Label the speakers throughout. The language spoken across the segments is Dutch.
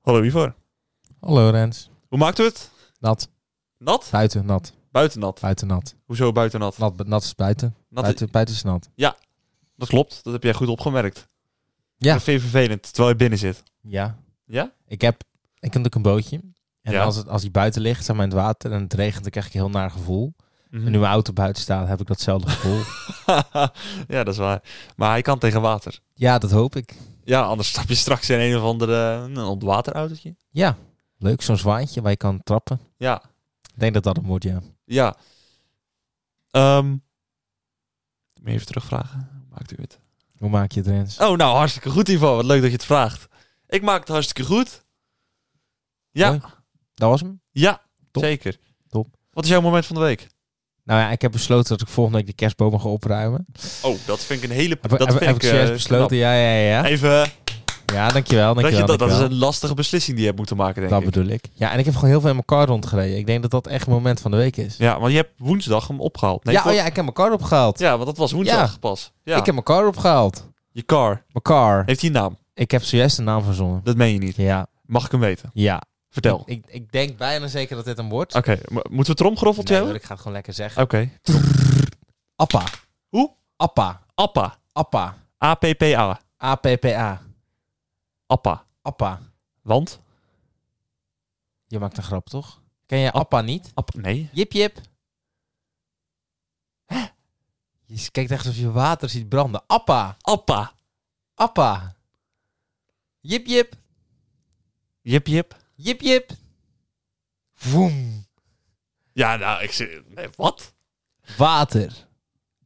Speaker 1: Hallo Ivar.
Speaker 2: Hallo Rens.
Speaker 1: Hoe maakten we het?
Speaker 2: Nat.
Speaker 1: Nat?
Speaker 2: Buiten nat.
Speaker 1: Buiten nat.
Speaker 2: Buiten nat.
Speaker 1: Hoezo buiten nat?
Speaker 2: Nat, nat is buiten.
Speaker 1: Nat is-
Speaker 2: buiten, buiten is nat.
Speaker 1: Dat klopt, dat heb jij goed opgemerkt.
Speaker 2: Ja.
Speaker 1: Dat vind je vervelend, terwijl je binnen zit.
Speaker 2: Ja.
Speaker 1: Ja?
Speaker 2: Ik heb, ik heb natuurlijk een bootje. En
Speaker 1: Ja.
Speaker 2: als, het, als die buiten ligt, zeg maar in het water en het regent, dan krijg ik een heel naar gevoel.
Speaker 1: Mhm. Hmm.
Speaker 2: En nu mijn auto buiten staat, heb ik datzelfde gevoel.
Speaker 1: ja, dat is waar. Maar hij kan tegen water.
Speaker 2: ja, dat hoop ik.
Speaker 1: Ja, anders stap je straks in een of andere eh, een ontwaterautootje.
Speaker 2: Ja. Leuk, zo'n zwaantje waar je kan trappen.
Speaker 1: Ja,
Speaker 2: Ik denk dat dat hem wordt, ja.
Speaker 1: ja. Ehm, moet je even terugvragen? Hoe maakt u het?
Speaker 2: Hoe maak je het, Rens?
Speaker 1: Oh, nou, hartstikke goed Ivar. Wat leuk dat je het vraagt. Ik maak het hartstikke goed. Ja,
Speaker 2: Mooi. Dat was hem.
Speaker 1: ja,
Speaker 2: Top.
Speaker 1: zeker.
Speaker 2: Top.
Speaker 1: Wat is jouw moment van de week?
Speaker 2: Nou ja, ik heb besloten dat ik volgende week de kerstbomen ga opruimen.
Speaker 1: Oh, dat vind ik een hele...
Speaker 2: Heb,
Speaker 1: dat
Speaker 2: heb,
Speaker 1: vind
Speaker 2: heb ik
Speaker 1: eh,
Speaker 2: serieus
Speaker 1: knap.
Speaker 2: besloten? Ja, ja, ja. ja.
Speaker 1: Even...
Speaker 2: Ja, dankjewel,
Speaker 1: Dat, je,
Speaker 2: dankjewel.
Speaker 1: dat, dat is
Speaker 2: dankjewel.
Speaker 1: een lastige beslissing die je hebt moeten maken, denk
Speaker 2: Dat
Speaker 1: ik.
Speaker 2: bedoel ik. Ja, en ik heb gewoon heel veel in mijn car rondgereden. Ik denk dat dat echt het moment van de week is.
Speaker 1: Ja, want je hebt woensdag hem opgehaald. Nee,
Speaker 2: ja,
Speaker 1: voor-
Speaker 2: oh ja, ik heb mijn car opgehaald.
Speaker 1: ja, want dat was woensdag pas. Ja.
Speaker 2: Ik heb mijn car opgehaald.
Speaker 1: Je car.
Speaker 2: Mijn car.
Speaker 1: Heeft hij een naam?
Speaker 2: Ik heb zojuist een naam verzonnen.
Speaker 1: Dat meen je niet.
Speaker 2: Ja,
Speaker 1: Mag ik hem weten?
Speaker 2: ja.
Speaker 1: Vertel.
Speaker 2: Ik, ik, ik denk bijna zeker dat dit hem wordt.
Speaker 1: Oké, maar moeten we tromgeroffeltje
Speaker 2: Nee, hoor,
Speaker 1: hebben?
Speaker 2: ik ga het gewoon lekker
Speaker 1: Oké.
Speaker 2: zeggen. Appa.
Speaker 1: Hoe?
Speaker 2: Appa.
Speaker 1: Appa.
Speaker 2: Appa.
Speaker 1: A-P-P-A.
Speaker 2: APPA.
Speaker 1: Appa.
Speaker 2: Appa.
Speaker 1: Want?
Speaker 2: Je maakt een grap, toch? Ken jij Appa niet?
Speaker 1: Appa. Nee.
Speaker 2: Jip, jip. Hè? Je kijkt echt alsof je water ziet branden. Appa.
Speaker 1: Appa.
Speaker 2: Appa. Jip, jip.
Speaker 1: Jip jip.
Speaker 2: Jip jip. Voem.
Speaker 1: Ja, nou, ik zit... Nee, wat?
Speaker 2: Water.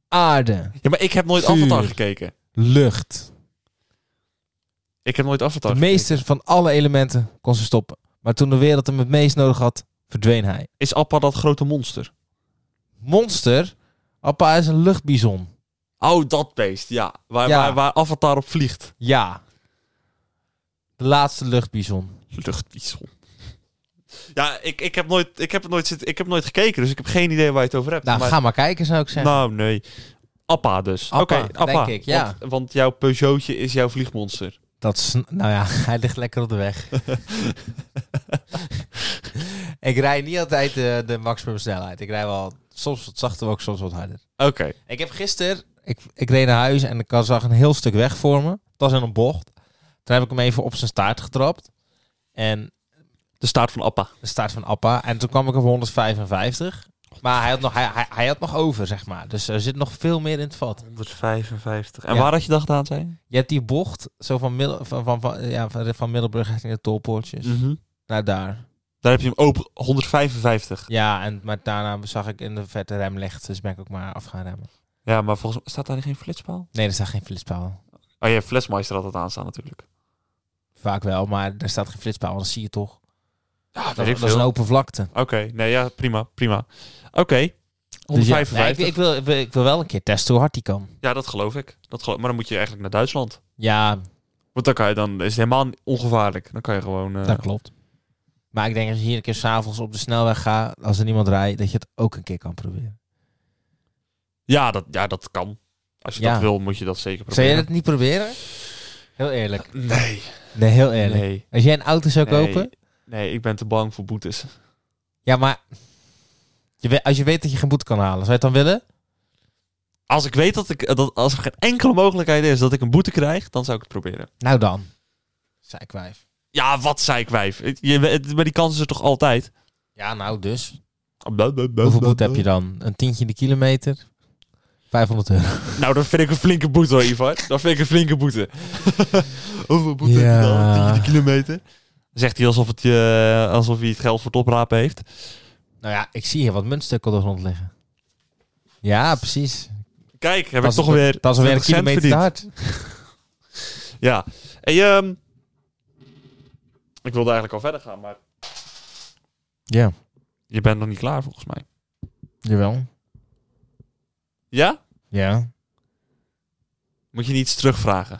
Speaker 2: Aarde.
Speaker 1: Ja, maar ik heb nooit
Speaker 2: Vuur.
Speaker 1: Avatar gekeken.
Speaker 2: Lucht.
Speaker 1: Ik heb nooit Avatar
Speaker 2: De
Speaker 1: gekeken.
Speaker 2: meester van alle elementen kon ze stoppen. Maar toen de wereld hem het meest nodig had, verdween hij.
Speaker 1: Is Appa dat grote monster?
Speaker 2: Monster. Appa is een luchtbizon.
Speaker 1: Oh, dat beest, ja. Waar,
Speaker 2: Ja.
Speaker 1: Waar, waar Avatar op vliegt.
Speaker 2: Ja. De laatste luchtbizon.
Speaker 1: Luchtbison. Ja, ik, ik, heb nooit, ik, heb het nooit zitten, ik heb nooit gekeken, dus ik heb geen idee waar je het over hebt.
Speaker 2: Nou,
Speaker 1: Maar-
Speaker 2: ga maar kijken, zou ik zeggen.
Speaker 1: nou nee. Appa dus. Oké,
Speaker 2: Appa,
Speaker 1: Appa.
Speaker 2: denk ik, ja.
Speaker 1: want, want jouw Peugeotje is jouw vliegmonster.
Speaker 2: Dat is, nou ja, hij ligt lekker op de weg. ik rijd niet altijd eh, de, de maximum snelheid. Ik rijd wel soms wat zachter, maar ook soms wat harder.
Speaker 1: Oké.
Speaker 2: Ik heb gisteren, ik, ik reed naar huis en ik had- zag een heel stuk weg voor me. Het was in een bocht. Toen heb ik hem even op zijn staart getrapt. En
Speaker 1: De staart van Appa.
Speaker 2: de staart van Appa. En toen kwam ik op 155. Maar hij had nog, hij, hij, hij had nog over, zeg maar. Dus er zit nog veel meer in het vat.
Speaker 1: 155. En
Speaker 2: Ja.
Speaker 1: waar had je dat gedaan, zei je?
Speaker 2: Je hebt die bocht zo van, Middel, van, van, van, ja, van, van Middelburg richting de tolpoortjes.
Speaker 1: Mhm.
Speaker 2: Naar daar.
Speaker 1: Daar heb je hem open. 155.
Speaker 2: Ja, en, maar daarna zag ik in de vette rem licht, dus ben ik ook maar af gaan remmen.
Speaker 1: Ja, maar volgens mij staat daar geen flitspaal.
Speaker 2: Nee, er staat geen flitspaal.
Speaker 1: Oh, je hebt flitsmeister altijd aan staan natuurlijk.
Speaker 2: Vaak wel, maar er staat geen flitspaal, want dat zie je toch.
Speaker 1: Ja,
Speaker 2: Dat, dat is een open vlakte.
Speaker 1: Oké, nee, ja, prima, prima. Oké,
Speaker 2: Dus ja,
Speaker 1: 155.
Speaker 2: nee, ik, ik, wil, ik, wil, ik wil wel een keer testen hoe hard die kan.
Speaker 1: Ja, dat geloof ik. Dat geloof... Maar dan moet je eigenlijk naar Duitsland.
Speaker 2: Ja,
Speaker 1: Want dan, kan je, dan is het helemaal ongevaarlijk. Dan kan je gewoon... eh,
Speaker 2: dat klopt. Maar ik denk als je hier een keer s'avonds op de snelweg gaat, als er niemand rijdt, dat je het ook een keer kan proberen.
Speaker 1: ja, dat, ja, dat kan. Als je
Speaker 2: Ja.
Speaker 1: dat wil, moet je dat zeker
Speaker 2: Zou jij
Speaker 1: proberen.
Speaker 2: dat niet proberen? Heel eerlijk.
Speaker 1: Nee.
Speaker 2: Nee, heel eerlijk.
Speaker 1: Nee.
Speaker 2: Als jij een auto zou
Speaker 1: Nee.
Speaker 2: kopen,
Speaker 1: nee, ik ben te bang voor boetes.
Speaker 2: ja, maar je weet, als je weet dat je geen boete kan halen, zou je het dan willen?
Speaker 1: Als ik weet dat ik... Dat, als er geen enkele mogelijkheid is dat ik een boete krijg, dan zou ik het proberen.
Speaker 2: Nou dan, zei ik wijf.
Speaker 1: Ja, wat zei ik wijf. Het- Je, het- maar die kans is er toch altijd?
Speaker 2: Ja, nou dus.
Speaker 1: Hoeveel
Speaker 2: Hoeveel boete heb je dan? Een tientje de kilometer? 500 euro.
Speaker 1: Nou, dat vind ik een flinke boete hoor, Ivar. Dat vind ik een flinke boete. Hoeveel boete heb je dan?
Speaker 2: Ja.
Speaker 1: 10 kilometer? Zegt hij alsof, het, je alsof hij het geld voor het oprapen heeft.
Speaker 2: Nou ja, ik zie hier wat muntstukken op de grond liggen. Ja, precies.
Speaker 1: Kijk, heb
Speaker 2: Dat
Speaker 1: ik
Speaker 2: is-
Speaker 1: toch weer
Speaker 2: Dat is weer een
Speaker 1: 20 cent
Speaker 2: kilometer te hard.
Speaker 1: Ja. Hey, ehm, ik wilde eigenlijk al verder gaan, maar
Speaker 2: Ja,
Speaker 1: je bent nog niet klaar volgens mij.
Speaker 2: jawel.
Speaker 1: Ja?
Speaker 2: Ja.
Speaker 1: Moet je niet iets terugvragen?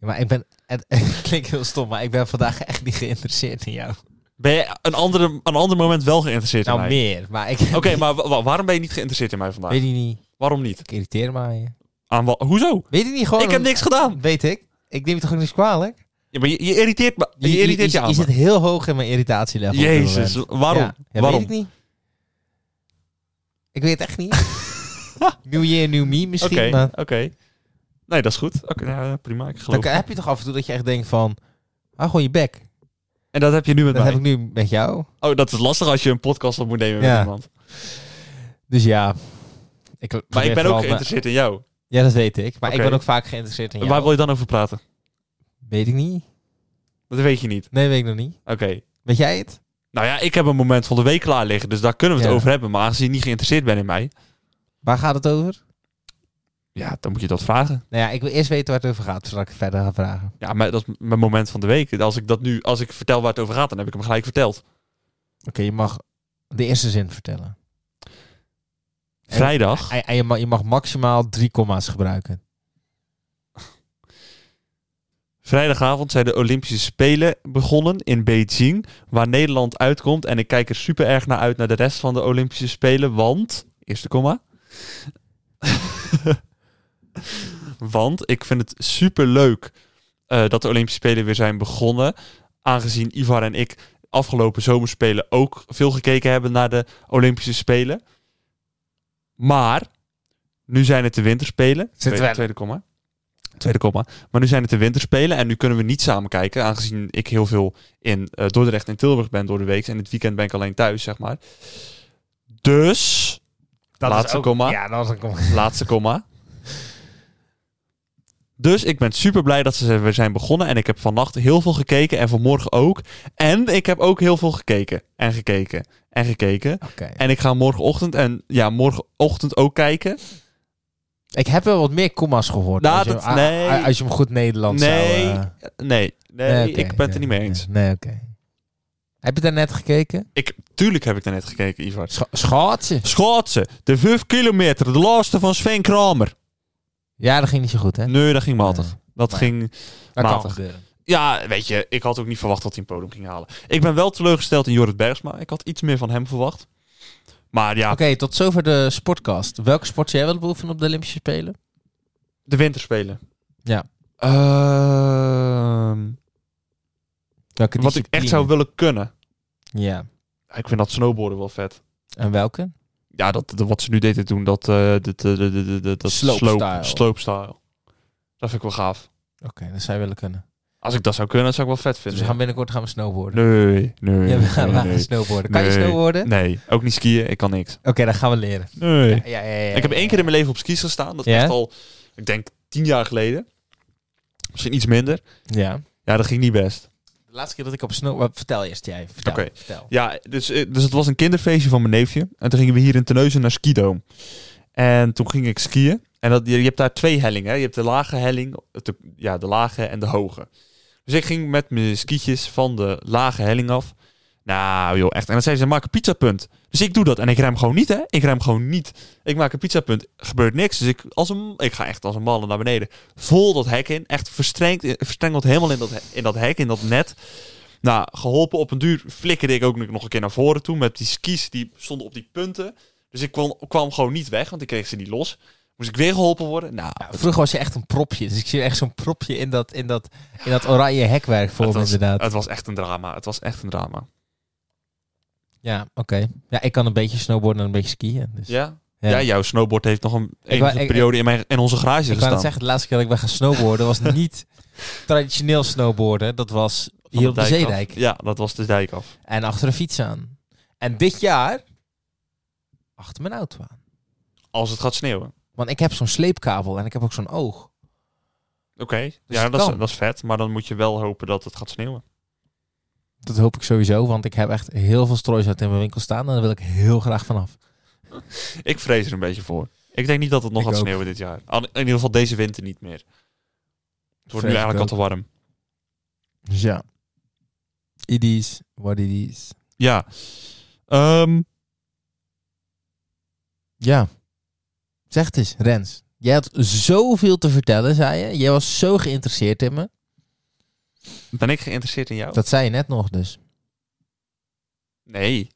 Speaker 2: Ja, Maar ik ben... Het, het klinkt heel stom, maar ik ben vandaag echt niet geïnteresseerd in jou.
Speaker 1: Ben je een, andere, een ander moment wel geïnteresseerd in
Speaker 2: Nou,
Speaker 1: mij?
Speaker 2: meer. Maar ik...
Speaker 1: Oké, maar wa- wa- waarom ben je niet geïnteresseerd in mij vandaag?
Speaker 2: Weet je niet.
Speaker 1: Waarom niet?
Speaker 2: Ik irriteer me aan je.
Speaker 1: Aan wa- Hoezo?
Speaker 2: Weet je niet gewoon...
Speaker 1: ik heb niks gedaan.
Speaker 2: Weet ik. Ik neem het toch ook niks kwalijk?
Speaker 1: Ja, maar je, je irriteert me. Je, irriteert je,
Speaker 2: je,
Speaker 1: aan me.
Speaker 2: zit heel hoog in mijn irritatielevel. op dit moment.
Speaker 1: Jezus, waarom?
Speaker 2: Ja. Ja,
Speaker 1: waarom?
Speaker 2: Weet ik niet. Ik weet het echt niet. new year, new me
Speaker 1: Oké,
Speaker 2: misschien. maar
Speaker 1: oké. Nee, dat is goed. Oké, nou, ja, prima. Ik
Speaker 2: dan
Speaker 1: geloof.
Speaker 2: kan- heb je toch af en toe dat je echt denkt van... Hou gewoon je bek.
Speaker 1: En dat heb je nu met
Speaker 2: Dat
Speaker 1: mij.
Speaker 2: heb ik nu met jou.
Speaker 1: Oh, dat is lastig als je een podcast op moet nemen
Speaker 2: Ja.
Speaker 1: met iemand.
Speaker 2: Dus ja. Ik
Speaker 1: Maar
Speaker 2: probeer
Speaker 1: ik ben
Speaker 2: vooral
Speaker 1: ook
Speaker 2: maar-
Speaker 1: geïnteresseerd in jou.
Speaker 2: Ja, dat weet ik. Maar ik
Speaker 1: Oké.
Speaker 2: ben ook vaak geïnteresseerd in jou.
Speaker 1: Waar wil je dan over praten?
Speaker 2: Weet ik niet.
Speaker 1: Dat weet je niet.
Speaker 2: Nee, weet ik nog niet.
Speaker 1: Oké.
Speaker 2: Weet jij het?
Speaker 1: Nou ja, ik heb een moment van de week klaar liggen, dus daar kunnen we het
Speaker 2: Ja.
Speaker 1: over hebben. Maar aangezien je niet geïnteresseerd bent in mij,
Speaker 2: Waar gaat het over?
Speaker 1: ja, dan moet je dat vragen.
Speaker 2: Nou ja, ik wil eerst weten waar het over gaat, voordat ik het verder ga vragen.
Speaker 1: Ja, maar dat is m- mijn moment van de week. Als ik dat nu, als ik vertel waar het over gaat, dan heb ik hem gelijk verteld.
Speaker 2: Oké, je mag de eerste zin vertellen. En-
Speaker 1: Vrijdag.
Speaker 2: En, en je, mag, je mag maximaal drie comma's gebruiken.
Speaker 1: Vrijdagavond zijn de Olympische Spelen begonnen in Beijing, waar Nederland uitkomt. En ik kijk er super erg naar uit naar de rest van de Olympische Spelen, want... Eerste komma. want ik vind het super leuk eh, dat de Olympische Spelen weer zijn begonnen. Aangezien Ivar en ik afgelopen zomerspelen ook veel gekeken hebben naar de Olympische Spelen. Maar nu zijn het de winterspelen. Tweede,
Speaker 2: wel.
Speaker 1: tweede komma. Tweede komma. Maar nu zijn het de winterspelen en nu kunnen we niet samen kijken. Aangezien ik heel veel in eh, Dordrecht en Tilburg ben door de week. En het weekend ben ik alleen thuis, zeg maar. Dus,
Speaker 2: Dat
Speaker 1: Laatste
Speaker 2: is ook-
Speaker 1: komma.
Speaker 2: Ja, dat was een komma.
Speaker 1: laatste komma. Dus ik ben super blij dat ze weer zijn begonnen. En ik heb vannacht heel veel gekeken en vanmorgen ook. En ik heb ook heel veel gekeken. En gekeken. En gekeken.
Speaker 2: Oké.
Speaker 1: En ik ga morgenochtend en ja, morgenochtend ook kijken.
Speaker 2: Ik heb wel wat meer comma's gehoord.
Speaker 1: Nou,
Speaker 2: als, je,
Speaker 1: dat-
Speaker 2: a-
Speaker 1: nee.
Speaker 2: a- als je hem goed Nederlands
Speaker 1: Nee.
Speaker 2: zou... eh,
Speaker 1: Nee, nee,
Speaker 2: nee, oké,
Speaker 1: ik ben het
Speaker 2: ja,
Speaker 1: er niet mee
Speaker 2: ja.
Speaker 1: eens.
Speaker 2: Nee, oké. Heb je daar net gekeken?
Speaker 1: Ik, tuurlijk heb ik daarnet gekeken, Ivar.
Speaker 2: Scha- schaatsen?
Speaker 1: Schaatsen, de 5 kilometer, de laatste van Sven Kramer.
Speaker 2: Ja, dat ging niet zo goed, hè?
Speaker 1: Nee, dat ging matig. Dat
Speaker 2: Nee.
Speaker 1: ging...
Speaker 2: dat
Speaker 1: matig.
Speaker 2: kan gebeuren.
Speaker 1: Ja, weet je, ik had ook niet verwacht dat hij een podium ging halen. Ik ben wel teleurgesteld in Jorrit Bergsma. Ik had iets meer van hem verwacht. Maar ja,
Speaker 2: Oké, tot zover de sportcast. Welke sport zou jij willen beoefenen op de Olympische Spelen?
Speaker 1: de winterspelen.
Speaker 2: Ja.
Speaker 1: Ehm,
Speaker 2: Welke
Speaker 1: wat ik echt zou
Speaker 2: discipline?
Speaker 1: willen kunnen.
Speaker 2: Ja.
Speaker 1: Ik vind dat snowboarden wel vet.
Speaker 2: En welke?
Speaker 1: Ja, dat, dat- wat ze nu deden doen, dat, eh dat, eh, dat, dat, dat, dat
Speaker 2: Slopestyle.
Speaker 1: slope- slopestyle. Dat vind ik wel gaaf.
Speaker 2: Oké, dat zou je willen kunnen.
Speaker 1: Als ik dat zou kunnen, dat zou ik wel vet
Speaker 2: Dus
Speaker 1: vinden.
Speaker 2: we gaan binnenkort gaan we snowboarden.
Speaker 1: Nee, nee,
Speaker 2: Ja, we gaan, we
Speaker 1: nee,
Speaker 2: gaan
Speaker 1: nee.
Speaker 2: snowboarden. Kan je
Speaker 1: Nee.
Speaker 2: snowboarden?
Speaker 1: Nee, ook niet skiën. Ik kan niks.
Speaker 2: Oké, dat gaan we leren.
Speaker 1: Nee.
Speaker 2: Ja, ja, ja, ja,
Speaker 1: Ik heb
Speaker 2: ja,
Speaker 1: één
Speaker 2: ja.
Speaker 1: keer in mijn leven op skis gestaan. Dat is
Speaker 2: Ja?
Speaker 1: echt al, ik denk, tien jaar geleden. Misschien iets minder.
Speaker 2: Ja.
Speaker 1: Ja, dat ging niet best.
Speaker 2: De laatste keer dat ik op snow... wat- Vertel eerst jij. Vertel.
Speaker 1: Oké.
Speaker 2: vertel.
Speaker 1: Ja, dus, eh, dus het was een kinderfeestje van mijn neefje. En toen gingen we hier in Tenneuzen naar Skidoom. En toen ging ik skiën. En dat, je, je hebt daar twee hellingen. hè. Je hebt de lage helling, de, ja, de lage en de hoge. Dus ik ging met mijn skietjes van de lage helling af. Nou joh, echt. En dan zeiden ze, maak een pizzapunt. Dus ik doe dat. En ik rem gewoon niet, hè. Ik rem gewoon niet. Ik maak een pizzapunt. Gebeurt niks. Dus ik, als een, ik ga echt als een malle naar beneden. Vol dat hek in. Echt verstrengd, eh, verstrengeld helemaal in dat, he- in dat hek, in dat net. Nou, geholpen op een duur flikkerde ik ook nog een keer naar voren toe. Met die skis, die stonden op die punten. Dus ik kwam, kwam gewoon niet weg, want ik kreeg ze niet los. Moest ik weer geholpen worden? Nou,
Speaker 2: Ja, vroeger was je echt een propje. Dus ik zie echt zo'n propje in dat, in dat, in dat oranje hekwerk voor
Speaker 1: het
Speaker 2: me,
Speaker 1: was,
Speaker 2: inderdaad.
Speaker 1: het was echt een drama. Het was echt een drama.
Speaker 2: Ja, oké. Ja, ik kan een beetje snowboarden en een beetje skiën. Dus.
Speaker 1: Ja? Ja, jouw snowboard heeft nog een
Speaker 2: wou-
Speaker 1: enige
Speaker 2: ik-
Speaker 1: periode in, mijn, in onze garage
Speaker 2: Ik kan het
Speaker 1: gestaan.
Speaker 2: zeggen, de laatste keer dat ik ben gaan snowboarden was niet traditioneel snowboarden. Dat was
Speaker 1: Van
Speaker 2: hier op de
Speaker 1: dijk af.
Speaker 2: Zeedijk.
Speaker 1: Ja, dat was de dijk af.
Speaker 2: En achter een fiets aan. En dit jaar achter mijn auto aan.
Speaker 1: Als het gaat sneeuwen.
Speaker 2: Want ik heb zo'n sleepkabel en ik heb ook zo'n oog.
Speaker 1: Oké, ja,
Speaker 2: het
Speaker 1: dat is,
Speaker 2: kan.
Speaker 1: dat is vet. Maar Dus dan moet je wel hopen dat het gaat sneeuwen.
Speaker 2: Dat hoop ik sowieso, want ik heb echt heel veel strooisout in mijn winkel staan. En daar wil ik heel graag vanaf.
Speaker 1: Ik vrees er een beetje voor. Ik denk niet dat het nog
Speaker 2: Ik
Speaker 1: gaat
Speaker 2: ook.
Speaker 1: sneeuwen dit jaar. Aan- In ieder geval deze winter niet meer. Het wordt nu
Speaker 2: Vrees ik
Speaker 1: eigenlijk al te warm.
Speaker 2: Dus ja. It is what it is.
Speaker 1: Ja. Ehm,
Speaker 2: Ja. Zeg het eens, Rens. Jij had zoveel te vertellen, zei je. Jij was zo geïnteresseerd in me.
Speaker 1: ben ik geïnteresseerd in jou?
Speaker 2: Dat zei je net nog dus.
Speaker 1: Nee.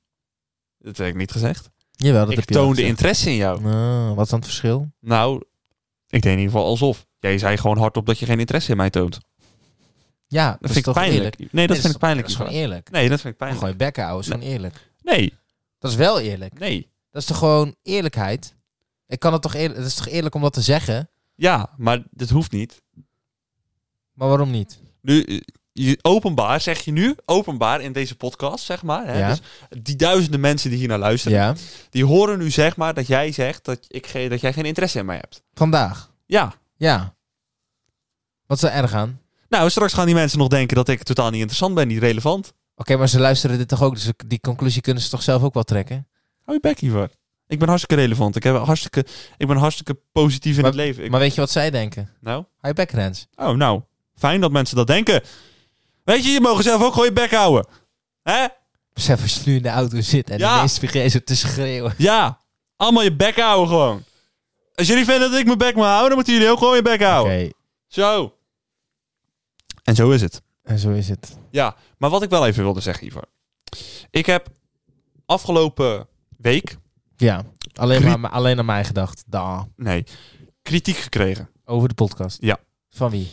Speaker 1: Dat heb ik niet gezegd.
Speaker 2: Jawel, dat
Speaker 1: ik
Speaker 2: heb je wel
Speaker 1: toonde
Speaker 2: gezegd.
Speaker 1: interesse in jou.
Speaker 2: Ah, wat is dan het verschil?
Speaker 1: Nou, ik deed in ieder geval alsof. Jij zei gewoon hardop dat je geen interesse in mij toont.
Speaker 2: Ja, dat,
Speaker 1: Dat
Speaker 2: is
Speaker 1: vind ik
Speaker 2: toch
Speaker 1: pijnlijk.
Speaker 2: eerlijk?
Speaker 1: Nee, dat
Speaker 2: Nee,
Speaker 1: vind ik pijnlijk.
Speaker 2: Dat is gewoon Oh,
Speaker 1: Ivar.
Speaker 2: eerlijk.
Speaker 1: Nee, dat vind ik
Speaker 2: Gewoon
Speaker 1: pijnlijk.
Speaker 2: Gooi bekken, ouwe, is gewoon eerlijk.
Speaker 1: Nee,
Speaker 2: Dat is wel eerlijk.
Speaker 1: nee.
Speaker 2: Dat is toch gewoon eerlijkheid? Ik kan het toch eerlijk... Het is toch eerlijk om dat te zeggen?
Speaker 1: Ja, maar dat hoeft niet.
Speaker 2: Maar waarom niet?
Speaker 1: Nu, eh, je, openbaar, zeg je nu, openbaar in deze podcast, zeg maar. Hè?
Speaker 2: Ja.
Speaker 1: Dus die duizenden mensen die hier naar luisteren,
Speaker 2: Ja.
Speaker 1: die horen nu zeg maar dat jij zegt dat, ik ge- dat jij geen interesse in mij hebt.
Speaker 2: Vandaag.
Speaker 1: Ja.
Speaker 2: Ja. Wat is er erg aan? Oké,
Speaker 1: Nou, straks gaan die mensen nog denken dat ik totaal niet interessant ben, niet relevant.
Speaker 2: maar ze luisteren dit toch ook, dus die conclusie kunnen ze toch zelf ook wel trekken?
Speaker 1: Hou je bek hiervoor. Ik ben hartstikke relevant. Ik, heb hartstikke, ik ben hartstikke positief in
Speaker 2: Maar-
Speaker 1: het leven. Ik-
Speaker 2: Maar weet je wat zij denken?
Speaker 1: nou?
Speaker 2: Hou je bek, Rens.
Speaker 1: Oh, nou. Fijn dat mensen dat denken. Weet je, je mogen zelf ook gewoon je bek houden. Hè?
Speaker 2: Besef als je nu in de auto zit en
Speaker 1: Ja.
Speaker 2: ineens begin je zo te schreeuwen.
Speaker 1: Ja. Allemaal je bek houden gewoon. Als jullie vinden dat ik mijn bek moet houden, dan moeten jullie ook gewoon je bek houden. Zo. En zo is het.
Speaker 2: en zo is het.
Speaker 1: Ja, maar wat ik wel even wilde zeggen, Ivar. Ik heb afgelopen week,
Speaker 2: Ja, alleen,
Speaker 1: Krie-
Speaker 2: maar, maar alleen aan mij gedacht. Da.
Speaker 1: nee, kritiek gekregen.
Speaker 2: Over de podcast.
Speaker 1: Ja.
Speaker 2: Van wie?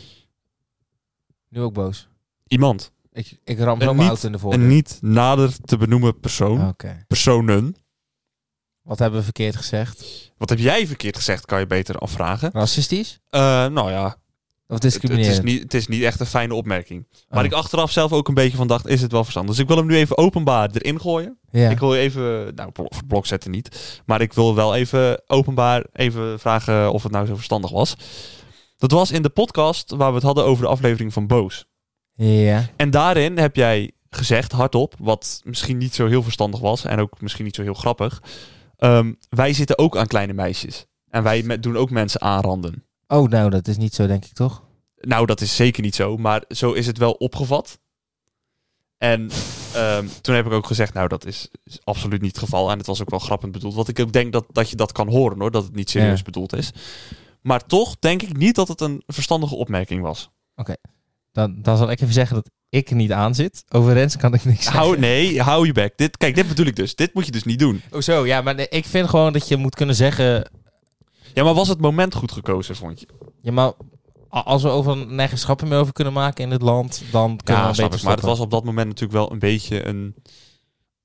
Speaker 2: Nu ook boos.
Speaker 1: Iemand.
Speaker 2: Ik, ik ram
Speaker 1: Een
Speaker 2: zo
Speaker 1: niet-
Speaker 2: mijn auto in de voordeur.
Speaker 1: Een niet nader te benoemen persoon.
Speaker 2: Oké.
Speaker 1: Personen.
Speaker 2: Wat hebben we verkeerd gezegd?
Speaker 1: Wat heb jij verkeerd gezegd, kan je beter afvragen.
Speaker 2: Racistisch?
Speaker 1: Eh, nou ja,
Speaker 2: Of
Speaker 1: het, het
Speaker 2: discriminerend?
Speaker 1: is niet, het is niet echt een fijne opmerking. Maar
Speaker 2: Oh.
Speaker 1: ik achteraf zelf ook een beetje van dacht, is het wel verstandig? Dus ik wil hem nu even openbaar erin gooien.
Speaker 2: Ja.
Speaker 1: Ik wil je even, nou, blo- voor het blok zetten niet. Maar ik wil wel even openbaar even vragen of het nou zo verstandig was. Dat was in de podcast waar we het hadden over de aflevering van Boos.
Speaker 2: ja.
Speaker 1: En daarin heb jij gezegd, hardop, wat misschien niet zo heel verstandig was en ook misschien niet zo heel grappig. ehm, wij zitten ook aan kleine meisjes. En wij me- doen ook mensen aanranden.
Speaker 2: Oh, nou, dat is niet zo, denk ik toch?
Speaker 1: Nou, dat is zeker niet zo, maar zo is het wel opgevat. En ehm, toen heb ik ook gezegd, nou, dat is, is absoluut niet het geval. En het was ook wel grappend bedoeld. Want ik ook denk dat, dat je dat kan horen, hoor. Dat het niet serieus
Speaker 2: Ja.
Speaker 1: bedoeld is. Maar toch denk ik niet dat het een verstandige opmerking was.
Speaker 2: Dan, dan zal ik even zeggen dat ik er niet aan zit. Over Rens kan ik niks zeggen.
Speaker 1: Hou, nee, hou je bek. Dit, kijk, dit bedoel ik dus. Dit moet je dus niet doen.
Speaker 2: Oh zo, ja, maar nee, ik vind gewoon dat je moet kunnen zeggen...
Speaker 1: Ja, maar was het moment goed gekozen, vond je?
Speaker 2: Ja, maar a- als we over nergens grappen meer over kunnen maken in dit land, dan kunnen we
Speaker 1: Ja,
Speaker 2: een
Speaker 1: snap
Speaker 2: beetje
Speaker 1: ik. Maar het was op dat moment natuurlijk wel een beetje een,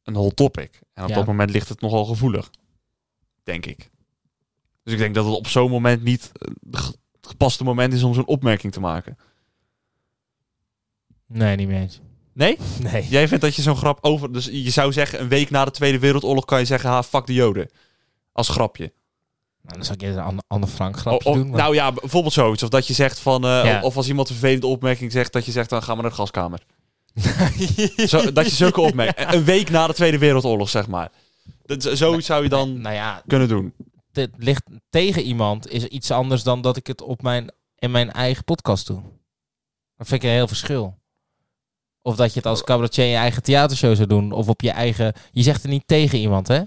Speaker 1: een hot topic. En op
Speaker 2: Ja.
Speaker 1: dat moment ligt het nogal gevoelig. Denk ik. Dus ik denk dat het op zo'n moment niet eh, g- het gepaste moment is om zo'n opmerking te maken.
Speaker 2: Nee, niet meer eens.
Speaker 1: Nee?
Speaker 2: Nee.
Speaker 1: Jij vindt dat je zo'n grap over... Dus je zou zeggen, een week na de Tweede Wereldoorlog kan je zeggen... Ha, fuck de Joden. Als grapje.
Speaker 2: Nou, dan zal ik eerder een Anne- Anne Frank grapje
Speaker 1: Oh, oh,
Speaker 2: doen. maar-
Speaker 1: Nou ja, bijvoorbeeld zoiets. Of dat je zegt van... eh,
Speaker 2: Ja.
Speaker 1: Of als iemand een vervelende opmerking zegt... Dat je zegt, dan ga maar naar de gaskamer. Zo, dat je zulke opmerkingen... Een week na de Tweede Wereldoorlog, zeg maar. Dat, z- zoiets zou je dan...
Speaker 2: nou ja,
Speaker 1: kunnen doen.
Speaker 2: dit ligt tegen iemand is iets anders dan dat ik het op mijn, in mijn eigen podcast doe. Dat vind ik een heel verschil. Of dat je het als cabaretier in je eigen theatershow zou doen. Of op je eigen... Je zegt het niet tegen iemand, hè?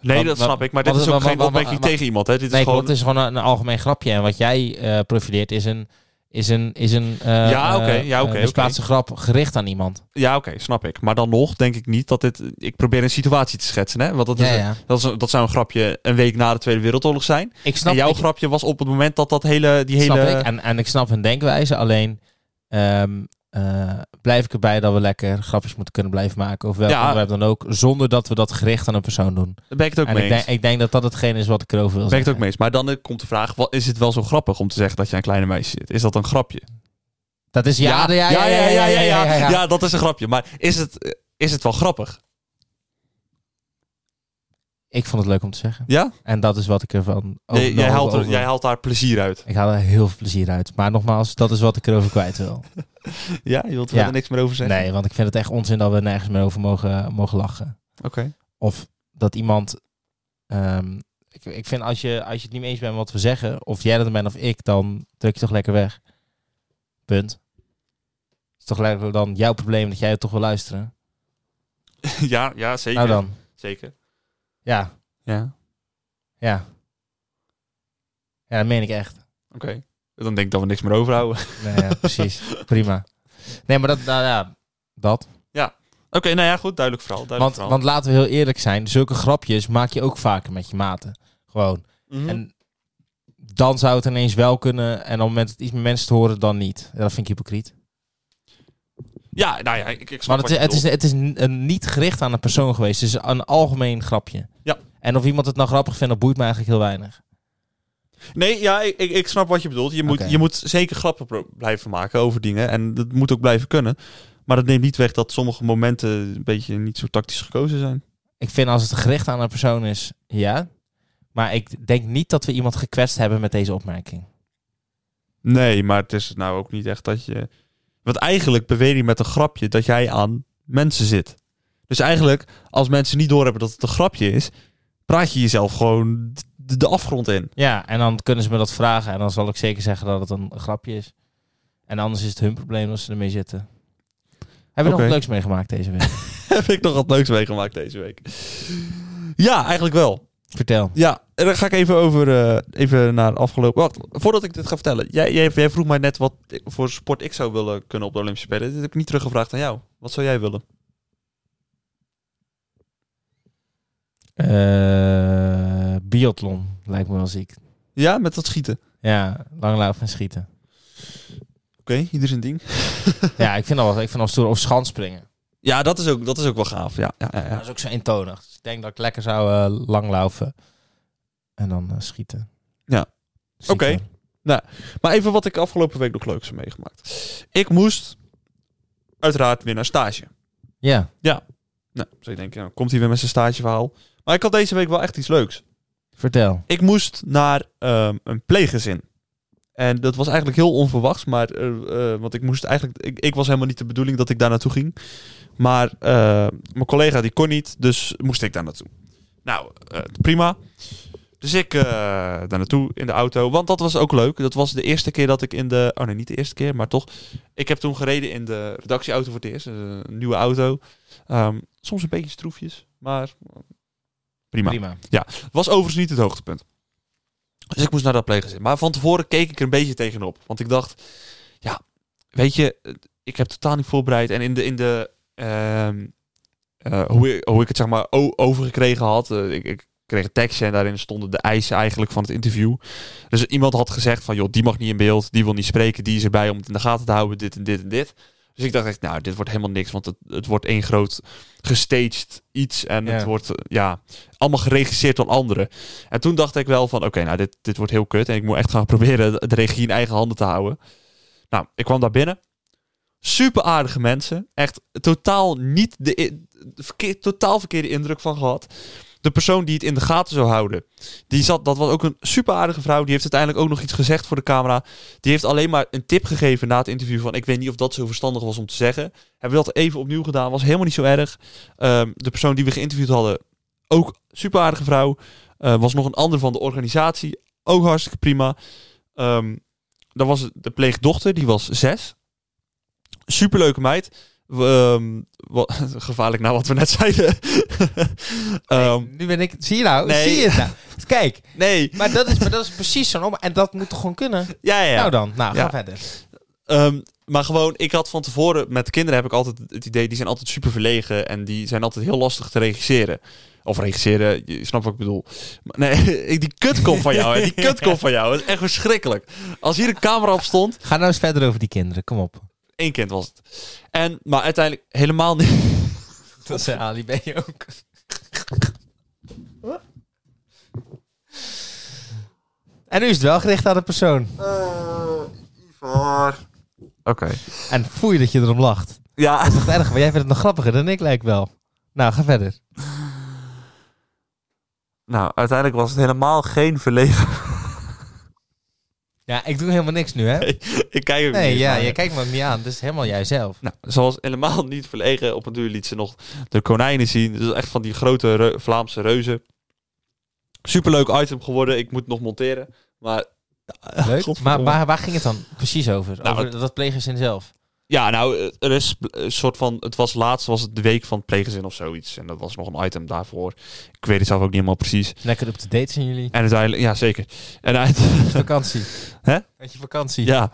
Speaker 1: Nee,
Speaker 2: Wat-
Speaker 1: dat
Speaker 2: wat-
Speaker 1: snap ik. Maar dit
Speaker 2: wat-
Speaker 1: is ook
Speaker 2: wat-
Speaker 1: geen
Speaker 2: wat- wat-
Speaker 1: opmerking
Speaker 2: wat-
Speaker 1: tegen iemand. Hè. Dit is
Speaker 2: nee,
Speaker 1: gewoon...
Speaker 2: klopt. Het is gewoon een, een algemeen grapje. En wat jij eh, profileert is een... Is een, is een eh,
Speaker 1: Ja, oké,
Speaker 2: eh,
Speaker 1: ja,
Speaker 2: eh,
Speaker 1: oké, oké.
Speaker 2: misplaatste grap gericht aan iemand.
Speaker 1: Ja, oké, snap ik. Maar dan nog denk ik niet dat dit... Ik probeer een situatie te schetsen. Hè? Want dat, is
Speaker 2: ja,
Speaker 1: een-
Speaker 2: ja.
Speaker 1: Dat, is een- dat zou een grapje een week na de Tweede Wereldoorlog zijn.
Speaker 2: Ik snap,
Speaker 1: en jouw
Speaker 2: ik,
Speaker 1: grapje was op het moment dat dat hele... Die
Speaker 2: snap
Speaker 1: hele...
Speaker 2: ik. En, en ik snap hun denkwijze. Alleen ehm, eh, blijf ik erbij dat we lekker grapjes moeten kunnen blijven maken. Of welk
Speaker 1: Ja.
Speaker 2: onderwerp dan ook. Zonder dat we dat gericht aan een persoon doen.
Speaker 1: Daar ben ik het ook
Speaker 2: en
Speaker 1: mee
Speaker 2: ik denk,
Speaker 1: eens.
Speaker 2: ik denk dat dat hetgeen is wat ik erover wil
Speaker 1: Daar ben ik het
Speaker 2: zeggen.
Speaker 1: ook mee eens. Maar dan eh, komt de vraag... Wat, is het wel zo grappig om te zeggen dat je een kleine meisje zit? Is dat een grapje?
Speaker 2: Dat is ja, ja, ja,
Speaker 1: ja, ja, ja, ja, ja,
Speaker 2: ja, ja.
Speaker 1: Ja, dat is een grapje. Maar is het, eh, is het wel grappig?
Speaker 2: Ik vond het leuk om te zeggen.
Speaker 1: Ja?
Speaker 2: En dat is wat ik ervan over,
Speaker 1: Jij- jij,
Speaker 2: over-
Speaker 1: haalt er,
Speaker 2: over-
Speaker 1: jij haalt daar plezier uit.
Speaker 2: Ik haal er heel veel plezier uit. Maar nogmaals, dat is wat ik erover kwijt wil.
Speaker 1: Ja? Je wilt er
Speaker 2: Ja.
Speaker 1: verder niks meer over zeggen?
Speaker 2: Nee, want ik vind het echt onzin dat we nergens meer over mogen, mogen lachen.
Speaker 1: Oké.
Speaker 2: Of dat iemand. ehm, ik, ik vind als je, als je het niet mee eens bent met wat we zeggen, of jij dat bent of ik, dan druk je toch lekker weg. Punt. Het is toch lekker dan jouw probleem dat jij het toch wil luisteren.
Speaker 1: ja, ja, zeker.
Speaker 2: Nou dan.
Speaker 1: Zeker.
Speaker 2: Ja,
Speaker 1: Ja.
Speaker 2: ja. Ja, dat meen ik echt.
Speaker 1: Oké. Dan denk ik dat we niks meer overhouden. Oké,
Speaker 2: Nee, ja, precies. Prima. Nee, maar dat, nou ja, dat.
Speaker 1: nou ja, goed. Duidelijk verhaal. Duidelijk
Speaker 2: Want,
Speaker 1: verhaal.
Speaker 2: want laten we heel
Speaker 1: Hm.
Speaker 2: eerlijk zijn, zulke grapjes maak je ook vaker met je maten. Gewoon.
Speaker 1: Mhm.
Speaker 2: En dan zou het ineens wel kunnen. En op het moment dat iets meer mensen te horen, dan niet. Ja, dat vind ik hypocriet.
Speaker 1: Ja, nou ja, ik, ik snap
Speaker 2: Maar
Speaker 1: wat
Speaker 2: het,
Speaker 1: je
Speaker 2: is- het, is,
Speaker 1: bedoelt.
Speaker 2: het is n- een niet gericht aan een persoon geweest. Het is een algemeen grapje.
Speaker 1: Ja.
Speaker 2: En of iemand het nou grappig vindt, dat boeit me eigenlijk heel weinig.
Speaker 1: Nee, ja, ik, ik, ik snap wat je bedoelt. Je moet,
Speaker 2: Oké.
Speaker 1: je moet zeker grappen pro- blijven maken over dingen. En dat moet ook blijven kunnen. Maar dat neemt niet weg dat sommige momenten een beetje niet zo tactisch gekozen zijn.
Speaker 2: Ik vind als het gericht aan een persoon is, ja. Maar ik denk niet dat we iemand gekwetst hebben met deze opmerking.
Speaker 1: Nee, maar het is nou ook niet echt dat je... Want eigenlijk beweer je met een grapje dat jij aan mensen zit. Dus eigenlijk, als mensen niet doorhebben dat het een grapje is... praat je jezelf gewoon d- de, afgrond in.
Speaker 2: Ja, en dan kunnen ze me dat vragen. En dan zal ik zeker zeggen dat het een grapje is. En anders is het hun probleem als ze ermee zitten. Hebben we nog
Speaker 1: Oké.
Speaker 2: wat leuks meegemaakt deze week?
Speaker 1: Heb ik nog wat leuks meegemaakt deze week. Ja, eigenlijk wel.
Speaker 2: Vertel.
Speaker 1: Ja, en dan ga ik even over eh, even naar afgelopen. Wacht, voordat ik dit ga vertellen. Jij, jij, jij vroeg mij net wat ik- voor sport ik zou willen kunnen op de Olympische Spelen. Dit heb ik niet teruggevraagd aan jou. Wat zou jij willen?
Speaker 2: Eh, biathlon lijkt me wel ziek.
Speaker 1: Ja, met dat schieten.
Speaker 2: Ja, langlaufen en schieten.
Speaker 1: Oké, ieder zijn ding.
Speaker 2: ja, ik vind dat wel. Ik vind dat wel stoer. Of schanspringen.
Speaker 1: Ja, dat is ook, dat is ook wel gaaf. Ja, ja, ja,
Speaker 2: Dat
Speaker 1: ja.
Speaker 2: is ook zo eentonig. Dus ik denk dat ik lekker zou eh, langlaufen. En dan eh, schieten.
Speaker 1: Ja.
Speaker 2: Ziek,
Speaker 1: Oké.
Speaker 2: hoor.
Speaker 1: Maar even wat ik afgelopen week nog leuks heb meegemaakt. Ik moest uiteraard weer naar stage.
Speaker 2: Ja.
Speaker 1: Nou, zou je denken, nou, komt hij weer met zijn stageverhaal. Maar ik had deze week wel echt iets leuks.
Speaker 2: Vertel.
Speaker 1: Ik moest naar ehm, een pleeggezin. En dat was eigenlijk heel onverwachts, maar eh, eh, want ik moest eigenlijk, ik, ik was helemaal niet de bedoeling dat ik daar naartoe ging. Maar eh, mijn collega die kon niet, dus moest ik daar naartoe. Nou, eh, prima. Dus ik eh, daar naartoe in de auto, want dat was ook leuk. Dat was de eerste keer dat ik in de, oh nee, niet de eerste keer, maar toch. Ik heb toen gereden in de redactieauto voor het eerst, eh, een nieuwe auto. Ehm, soms een beetje stroefjes, maar eh, prima.
Speaker 2: Prima.
Speaker 1: Was overigens niet het hoogtepunt. Dus ik moest naar dat pleeggezin. Maar van tevoren keek ik er een beetje tegenop. Want ik dacht, ja, weet je, eh, ik heb totaal niet voorbereid. En in de, in de ehm, eh, hoe, ik, hoe ik het zeg maar o- overgekregen had. eh, ik, ik kreeg een tekstje en daarin stonden de eisen eigenlijk van het interview. Dus iemand had gezegd van, joh, die mag niet in beeld. Die wil niet spreken. Die is erbij om het in de gaten te houden. Dit en dit en dit. Dus ik dacht echt, nou, dit wordt helemaal niks. Want het, het wordt één groot gestaged iets. En het
Speaker 2: Ja.
Speaker 1: wordt, eh, ja allemaal geregisseerd door anderen. En toen dacht ik wel van, oké, nou, dit, dit wordt heel kut. En ik moet echt gaan proberen de- de regie in eigen handen te houden. Nou, ik kwam daar binnen. Super aardige mensen. Echt totaal niet de, i- de verkeer- totaal verkeerde indruk van gehad. De persoon die het in de gaten zou houden. Die zat, dat was ook een super aardige vrouw. Die heeft uiteindelijk ook nog iets gezegd voor de camera. Die heeft alleen maar een tip gegeven na het interview. Van ik weet niet of dat zo verstandig was om te zeggen. Hebben we dat even opnieuw gedaan. Was helemaal niet zo erg. Ehm, de persoon die we geïnterviewd hadden. Ook super aardige vrouw. Eh, was nog een ander van de organisatie. Ook hartstikke prima. Ehm dan was het de pleegdochter, die was zes. Superleuke meid. W- ehm, wa- gevaarlijk na wat we net zeiden. Ehm,
Speaker 2: nu ben ik... Zie je nou?
Speaker 1: Nee.
Speaker 2: Zie je het nou? Kijk.
Speaker 1: nee,
Speaker 2: Maar dat is, maar dat is precies zo'n... om- En dat moet toch gewoon kunnen?
Speaker 1: ja, ja. ja.
Speaker 2: Nou dan. Nou, ga
Speaker 1: Ja.
Speaker 2: verder.
Speaker 1: Ehm, maar gewoon, ik had van tevoren met kinderen heb ik altijd het idee, die zijn altijd super verlegen en die zijn altijd heel lastig te regisseren. Of regisseren, je snapt wat ik bedoel. Maar nee, ik- die kutkop van jou, hè, die kutkop van jou, dat is echt verschrikkelijk. Als hier een camera op stond,
Speaker 2: Ga nou eens verder over die kinderen. Kom op.
Speaker 1: één kind was het. En, maar uiteindelijk helemaal niet.
Speaker 2: Dat zei Ali ben je ook. En nu is het wel gericht aan de persoon.
Speaker 1: Oké.
Speaker 2: En foei dat je erom lacht.
Speaker 1: Ja.
Speaker 2: Dat is echt erg, maar jij vindt het nog grappiger dan ik lijkt wel. Nou, ga verder.
Speaker 1: Nou, uiteindelijk was het helemaal geen verlegen.
Speaker 2: Ja, ik doe helemaal niks nu, hè?
Speaker 1: ik kijk ook
Speaker 2: Nee,
Speaker 1: niet.
Speaker 2: ja,
Speaker 1: maar-
Speaker 2: je kijkt me ook niet aan. Dit is helemaal jijzelf.
Speaker 1: Nou, ze was helemaal niet verlegen. Op een duur liet ze nog de konijnen zien. Dus echt van die grote reu- Vlaamse reuzen. Superleuk item geworden. Ik moet nog monteren. Maar
Speaker 2: Leuk.
Speaker 1: Godverdomme.
Speaker 2: Maar waar, waar ging het dan precies over?
Speaker 1: Nou,
Speaker 2: over dat pleeggezin zelf.
Speaker 1: ja, nou, eh, er is eh, een soort van... Het was laatst, was het de week van het pleeggezin of zoiets. En dat was nog een item daarvoor. Ik weet het zelf ook niet helemaal precies.
Speaker 2: Lekker up to date zijn jullie.
Speaker 1: En uiteindelijk... Ja, zeker. En uiteindelijk...
Speaker 2: Vakantie.
Speaker 1: Hè?
Speaker 2: Met je vakantie.
Speaker 1: Ja,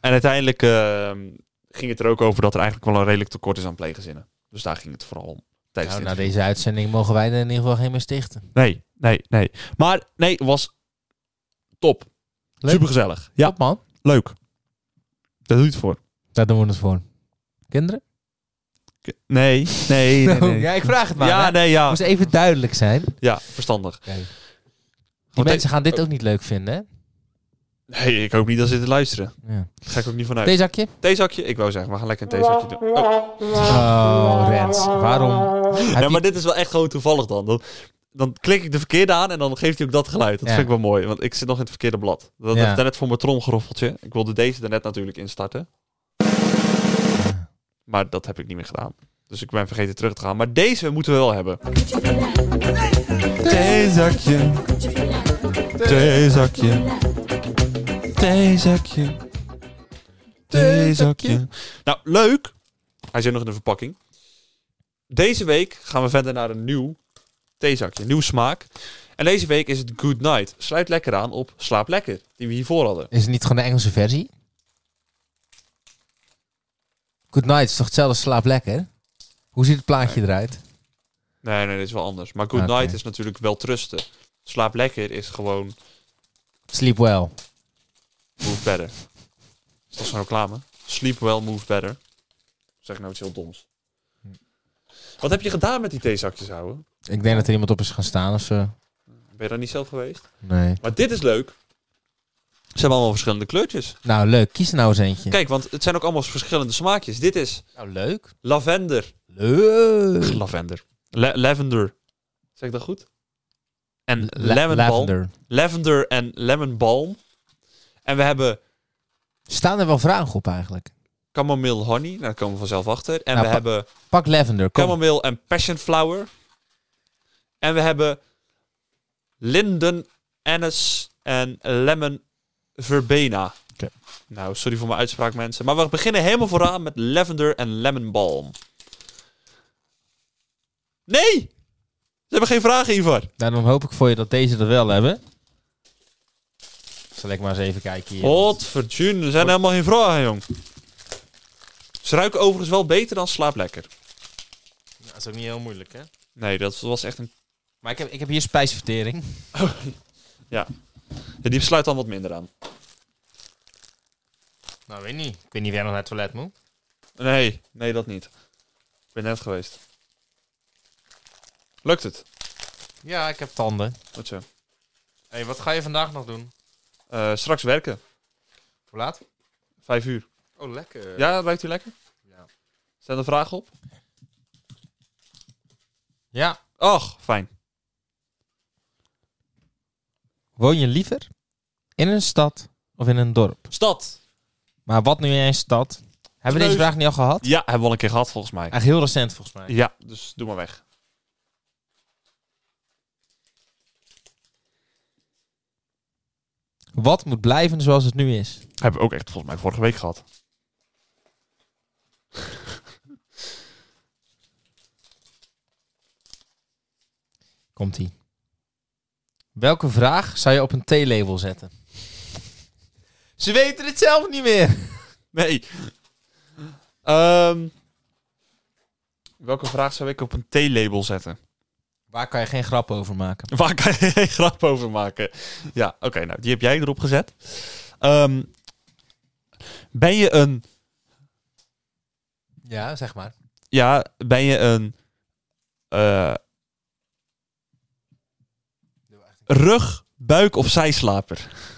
Speaker 1: en uiteindelijk ehm, ging het er ook over dat er eigenlijk wel een redelijk tekort is aan pleeggezinnen. Dus daar ging het vooral om. Tijdens
Speaker 2: Nou,
Speaker 1: dit
Speaker 2: na
Speaker 1: interview.
Speaker 2: deze uitzending mogen wij er in ieder geval geen meer stichten.
Speaker 1: Nee, nee, nee. Maar nee, was top.
Speaker 2: Leuk.
Speaker 1: Supergezellig. Ja,
Speaker 2: Top man.
Speaker 1: leuk. Daar doe je het voor.
Speaker 2: Daar doen we het voor. Kinderen?
Speaker 1: K- Nee, nee, nee. nee.
Speaker 2: Ja, ik vraag Nou, het maar.
Speaker 1: ja,
Speaker 2: hè.
Speaker 1: nee, ja.
Speaker 2: Moest even duidelijk zijn. Die
Speaker 1: Ja, verstandig. Want
Speaker 2: mensen gaan dit ook niet leuk vinden, hè?
Speaker 1: Nee, ik hoop niet dat ze dit luisteren.
Speaker 2: Ja.
Speaker 1: Daar ga ik ook niet vanuit.
Speaker 2: Theezakje?
Speaker 1: Theezakje? Ik wou zeggen, we gaan lekker een theezakje doen. Oh.
Speaker 2: Oh, Rens. Waarom? Heb
Speaker 1: Ja,
Speaker 2: je-
Speaker 1: maar dit is wel echt gewoon toevallig dan. dan. Dan klik ik de verkeerde aan en dan geeft hij ook dat geluid. Dat
Speaker 2: Ja.
Speaker 1: vind ik wel mooi, want ik zit nog in het verkeerde blad. Dat
Speaker 2: Ja.
Speaker 1: heb ik net voor mijn tromgeroffeltje. Ik wilde deze daarnet natuurlijk instarten. Maar dat heb ik niet meer gedaan. Dus ik ben vergeten terug te gaan. Maar deze moeten we wel hebben. Theezakje. Theezakje. Theezakje. Theezakje. Nou, leuk. Hij zit nog in de verpakking. Deze week gaan we verder naar een nieuw theezakje. Een nieuw smaak. En deze week is het Good Night. Sluit lekker aan op Slaap Lekker. Die we hiervoor hadden.
Speaker 2: Is het niet gewoon de Engelse versie? Good night is toch hetzelfde als slaap lekker? Hoe ziet het plaatje eruit?
Speaker 1: Nee, nee, dit is wel anders. Maar Good
Speaker 2: Oké.
Speaker 1: Night is natuurlijk wel trusten. Slaap Lekker is gewoon
Speaker 2: Sleep well.
Speaker 1: Move Better. Is dat zo'n reclame? Sleep well, move better. Zeg ik nou iets heel doms. Wat heb je gedaan met die theezakjes, ouwe?
Speaker 2: Ik denk dat er iemand op is gaan staan of zo.
Speaker 1: Ben je daar niet zelf geweest?
Speaker 2: Nee.
Speaker 1: Maar dit is leuk. Ze hebben allemaal verschillende kleurtjes.
Speaker 2: Nou, leuk. Kies er nou eens eentje.
Speaker 1: Kijk, want het zijn ook allemaal verschillende smaakjes. Dit is
Speaker 2: Nou, leuk.
Speaker 1: lavender.
Speaker 2: Leuk.
Speaker 1: Lavender. La- lavender. Zeg ik dat goed? En
Speaker 2: La-
Speaker 1: lemon balm.
Speaker 2: lavender.
Speaker 1: Lavender en lemon balm. En we hebben
Speaker 2: Staan er wel vragen op eigenlijk?
Speaker 1: chamomile honey. Nou, daar komen we vanzelf achter. En
Speaker 2: Nou,
Speaker 1: we
Speaker 2: pa-
Speaker 1: hebben
Speaker 2: Pak lavender. Kom.
Speaker 1: chamomile en passion flower. En we hebben linden, anise en lemon verbena.
Speaker 2: Oké.
Speaker 1: Nou, sorry voor mijn uitspraak, mensen. Maar we beginnen helemaal vooraan met lavender en lemon balm. Nee! Ze hebben geen vragen, Ivar.
Speaker 2: Nou, dan hoop ik voor je dat deze er wel hebben. Zal ik maar eens even kijken hier.
Speaker 1: Godvertune, er zijn helemaal geen vragen, jong. Ze ruiken overigens wel beter dan slaap lekker.
Speaker 2: Dat Nou, is ook niet heel moeilijk, hè?
Speaker 1: Nee, dat was echt een...
Speaker 2: Maar ik heb, ik heb hier spijsvertering.
Speaker 1: Die sluit dan wat minder aan.
Speaker 2: Nou, weet niet. Ik weet niet of jij nog naar het toilet moet.
Speaker 1: Nee, nee, dat niet. Ik ben net geweest. Lukt het?
Speaker 2: Ja, ik heb tanden.
Speaker 1: Goed zo.
Speaker 2: Hé, wat ga je vandaag nog doen?
Speaker 1: Eh, straks werken.
Speaker 2: Hoe laat?
Speaker 1: Vijf uur.
Speaker 2: Oh, lekker.
Speaker 1: Ja, ruikt u lekker?
Speaker 2: Ja.
Speaker 1: Zijn er vragen op?
Speaker 2: ja.
Speaker 1: Och, fijn.
Speaker 2: Woon je liever in een stad of in een dorp?
Speaker 1: Stad.
Speaker 2: Maar wat nu in een stad? Hebben we
Speaker 1: Kneus.
Speaker 2: deze vraag niet al gehad?
Speaker 1: Ja, hebben we al een keer gehad volgens mij.
Speaker 2: Eigenlijk heel recent volgens mij.
Speaker 1: Ja, dus doe maar weg.
Speaker 2: Wat moet blijven zoals het nu is?
Speaker 1: Hebben we ook echt volgens mij vorige week gehad.
Speaker 2: Komt ie. Welke vraag zou je op een theelabel zetten? Ze weten het zelf niet meer.
Speaker 1: Nee. Ehm, welke vraag zou ik op een theelabel zetten?
Speaker 2: Waar kan je geen grap over maken?
Speaker 1: Waar kan je geen grap over maken? Ja, oké, nou, die heb jij erop gezet. Ehm, ben je een
Speaker 2: Ja, zeg maar.
Speaker 1: ja, ben je een eh, rug, buik of zijslaper?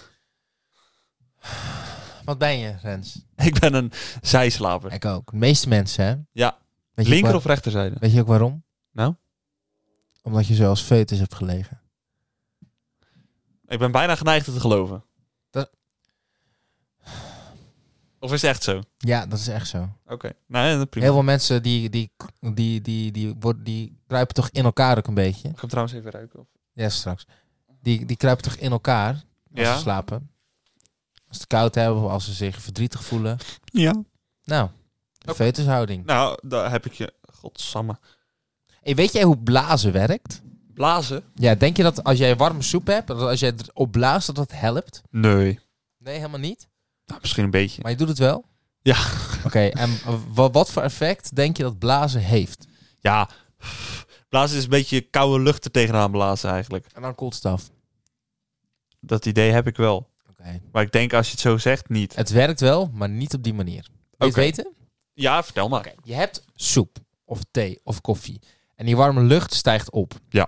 Speaker 2: Wat ben je, Rens?
Speaker 1: Ik ben een zijslaper.
Speaker 2: Ik ook. De meeste mensen, hè?
Speaker 1: Ja.
Speaker 2: Weet je ook
Speaker 1: Linker
Speaker 2: waar-
Speaker 1: of rechterzijde?
Speaker 2: Weet je ook waarom?
Speaker 1: Nou?
Speaker 2: Omdat je zoals foetus hebt gelegen.
Speaker 1: Ik ben bijna geneigd het te geloven.
Speaker 2: Dat-
Speaker 1: Of is het echt zo? Oké.
Speaker 2: Ja, dat is echt zo.
Speaker 1: Nou, ja, prima.
Speaker 2: Heel veel mensen die, die, die, die, die, worden, die kruipen toch in elkaar ook een beetje.
Speaker 1: Ik ga hem trouwens even ruiken. Of...
Speaker 2: Ja, straks. Die, die kruipen toch in elkaar als
Speaker 1: Ja.
Speaker 2: ze slapen. Als ze het koud hebben of als ze zich verdrietig voelen.
Speaker 1: Ja.
Speaker 2: Nou,
Speaker 1: Oké.
Speaker 2: foetushouding.
Speaker 1: Nou, daar heb ik je. Godsamme.
Speaker 2: Hey, weet jij hoe blazen werkt?
Speaker 1: Blazen?
Speaker 2: Ja, denk je dat als jij warme soep hebt, dat als jij het opblaast, dat dat helpt?
Speaker 1: Nee.
Speaker 2: Nee, helemaal niet.
Speaker 1: Nou, misschien een beetje.
Speaker 2: Maar je doet het wel?
Speaker 1: Ja.
Speaker 2: Oké, en wa- wat voor effect denk je dat blazen heeft?
Speaker 1: Ja. Blazen is een beetje koude lucht er tegenaan blazen eigenlijk.
Speaker 2: En dan koelt het af.
Speaker 1: Dat idee heb ik wel.
Speaker 2: Oké.
Speaker 1: Maar ik denk als je het zo zegt, niet.
Speaker 2: Het werkt wel, maar niet op die manier. Wil je het
Speaker 1: Oké.
Speaker 2: weten?
Speaker 1: Ja, vertel maar.
Speaker 2: Je hebt soep of thee of koffie. En die warme lucht stijgt op.
Speaker 1: Ja.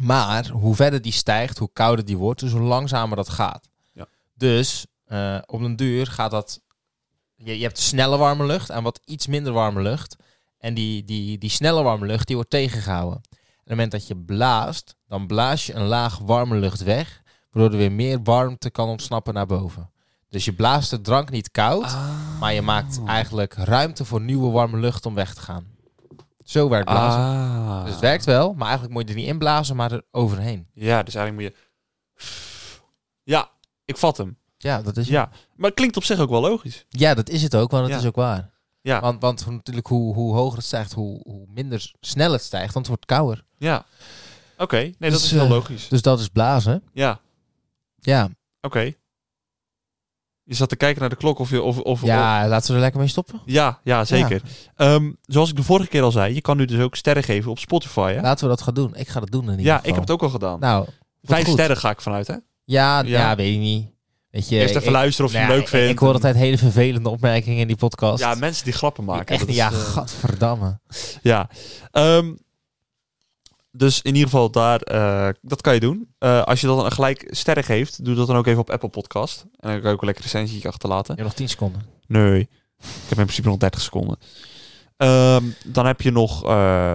Speaker 2: Maar hoe verder die stijgt, hoe kouder die wordt, dus hoe langzamer dat gaat.
Speaker 1: Ja.
Speaker 2: Dus eh, op een duur gaat dat. Je, je hebt snelle warme lucht en wat iets minder warme lucht. En die, die, die snelle warme lucht die wordt tegengehouden. En op het moment dat je blaast, dan blaas je een laag warme lucht weg, waardoor er weer meer warmte kan ontsnappen naar boven. Dus je blaast de drank niet koud,
Speaker 1: Ah.
Speaker 2: maar je maakt
Speaker 1: Oh.
Speaker 2: eigenlijk ruimte voor nieuwe warme lucht om weg te gaan. Zo werkt blazen.
Speaker 1: Ah.
Speaker 2: Dus het werkt wel, maar eigenlijk moet je er niet in blazen, maar er overheen.
Speaker 1: Ja, dus eigenlijk moet je... Ja, ik vat hem.
Speaker 2: Ja, dat is, ja.
Speaker 1: Ja, maar het klinkt op zich ook wel logisch.
Speaker 2: dat is het ook, want het
Speaker 1: Ja.
Speaker 2: is ook waar.
Speaker 1: Ja.
Speaker 2: Want, want hoe- natuurlijk, hoe, hoe hoger het stijgt, hoe, hoe minder snel het stijgt, want het wordt kouder.
Speaker 1: Ja. Oké, nee, dat
Speaker 2: Dus,
Speaker 1: is heel
Speaker 2: eh,
Speaker 1: logisch.
Speaker 2: Dus dat is blazen.
Speaker 1: Ja, oké.
Speaker 2: Ja,
Speaker 1: Je zat te kijken naar de klok of je... Of, of,
Speaker 2: ja laten we er lekker mee stoppen.
Speaker 1: of- ja, ja, zeker. Ehm, zoals ik de vorige keer al zei, je kan nu dus ook sterren geven op Spotify, hè?
Speaker 2: Laten we dat gaan doen. Ik ga dat doen in ieder
Speaker 1: Ja,
Speaker 2: geval.
Speaker 1: ik heb het ook al gedaan.
Speaker 2: Nou,
Speaker 1: Vijf
Speaker 2: goed.
Speaker 1: sterren ga ik vanuit, hè?
Speaker 2: ja, ja.
Speaker 1: Ja.
Speaker 2: weet ik niet. Weet je,
Speaker 1: Eerst even
Speaker 2: ik-
Speaker 1: luisteren of je
Speaker 2: nou
Speaker 1: hem
Speaker 2: ja,
Speaker 1: leuk vindt.
Speaker 2: Ik, ik hoor altijd hele vervelende opmerkingen in die podcast.
Speaker 1: Ja, mensen die grappen maken.
Speaker 2: Echt,
Speaker 1: dat is,
Speaker 2: ja,
Speaker 1: eh,
Speaker 2: gadverdamme.
Speaker 1: Ja. Ehm, dus in ieder geval, daar, eh, dat kan je doen. Eh, als je dat dan gelijk sterren geeft, doe dat dan ook even op Apple Podcast. En dan kan je ook een lekker recensietje achterlaten.
Speaker 2: Je hebt nog 10 seconden.
Speaker 1: Nee, ik heb in principe nog 30 seconden. Ehm, dan heb je nog eh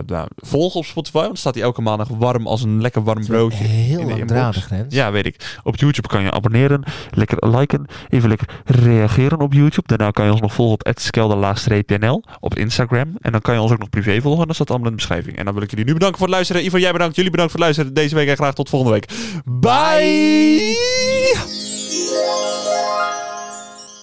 Speaker 1: nou, volg op Spotify, want dan staat hij elke maandag warm als een lekker warm broodje.
Speaker 2: Heel
Speaker 1: in de
Speaker 2: langdradig, grens.
Speaker 1: Ja, weet ik. Op YouTube kan je abonneren, lekker liken, even lekker reageren op YouTube. Daarna kan je ons nog volgen op @skelderlaagstreepnl op Instagram. En dan kan je ons ook nog privé volgen. Dat staat allemaal in de beschrijving. En dan wil ik jullie nu bedanken voor het luisteren. Ivan, jij bedankt. Jullie bedankt voor het luisteren deze week. En graag tot volgende week. Bye.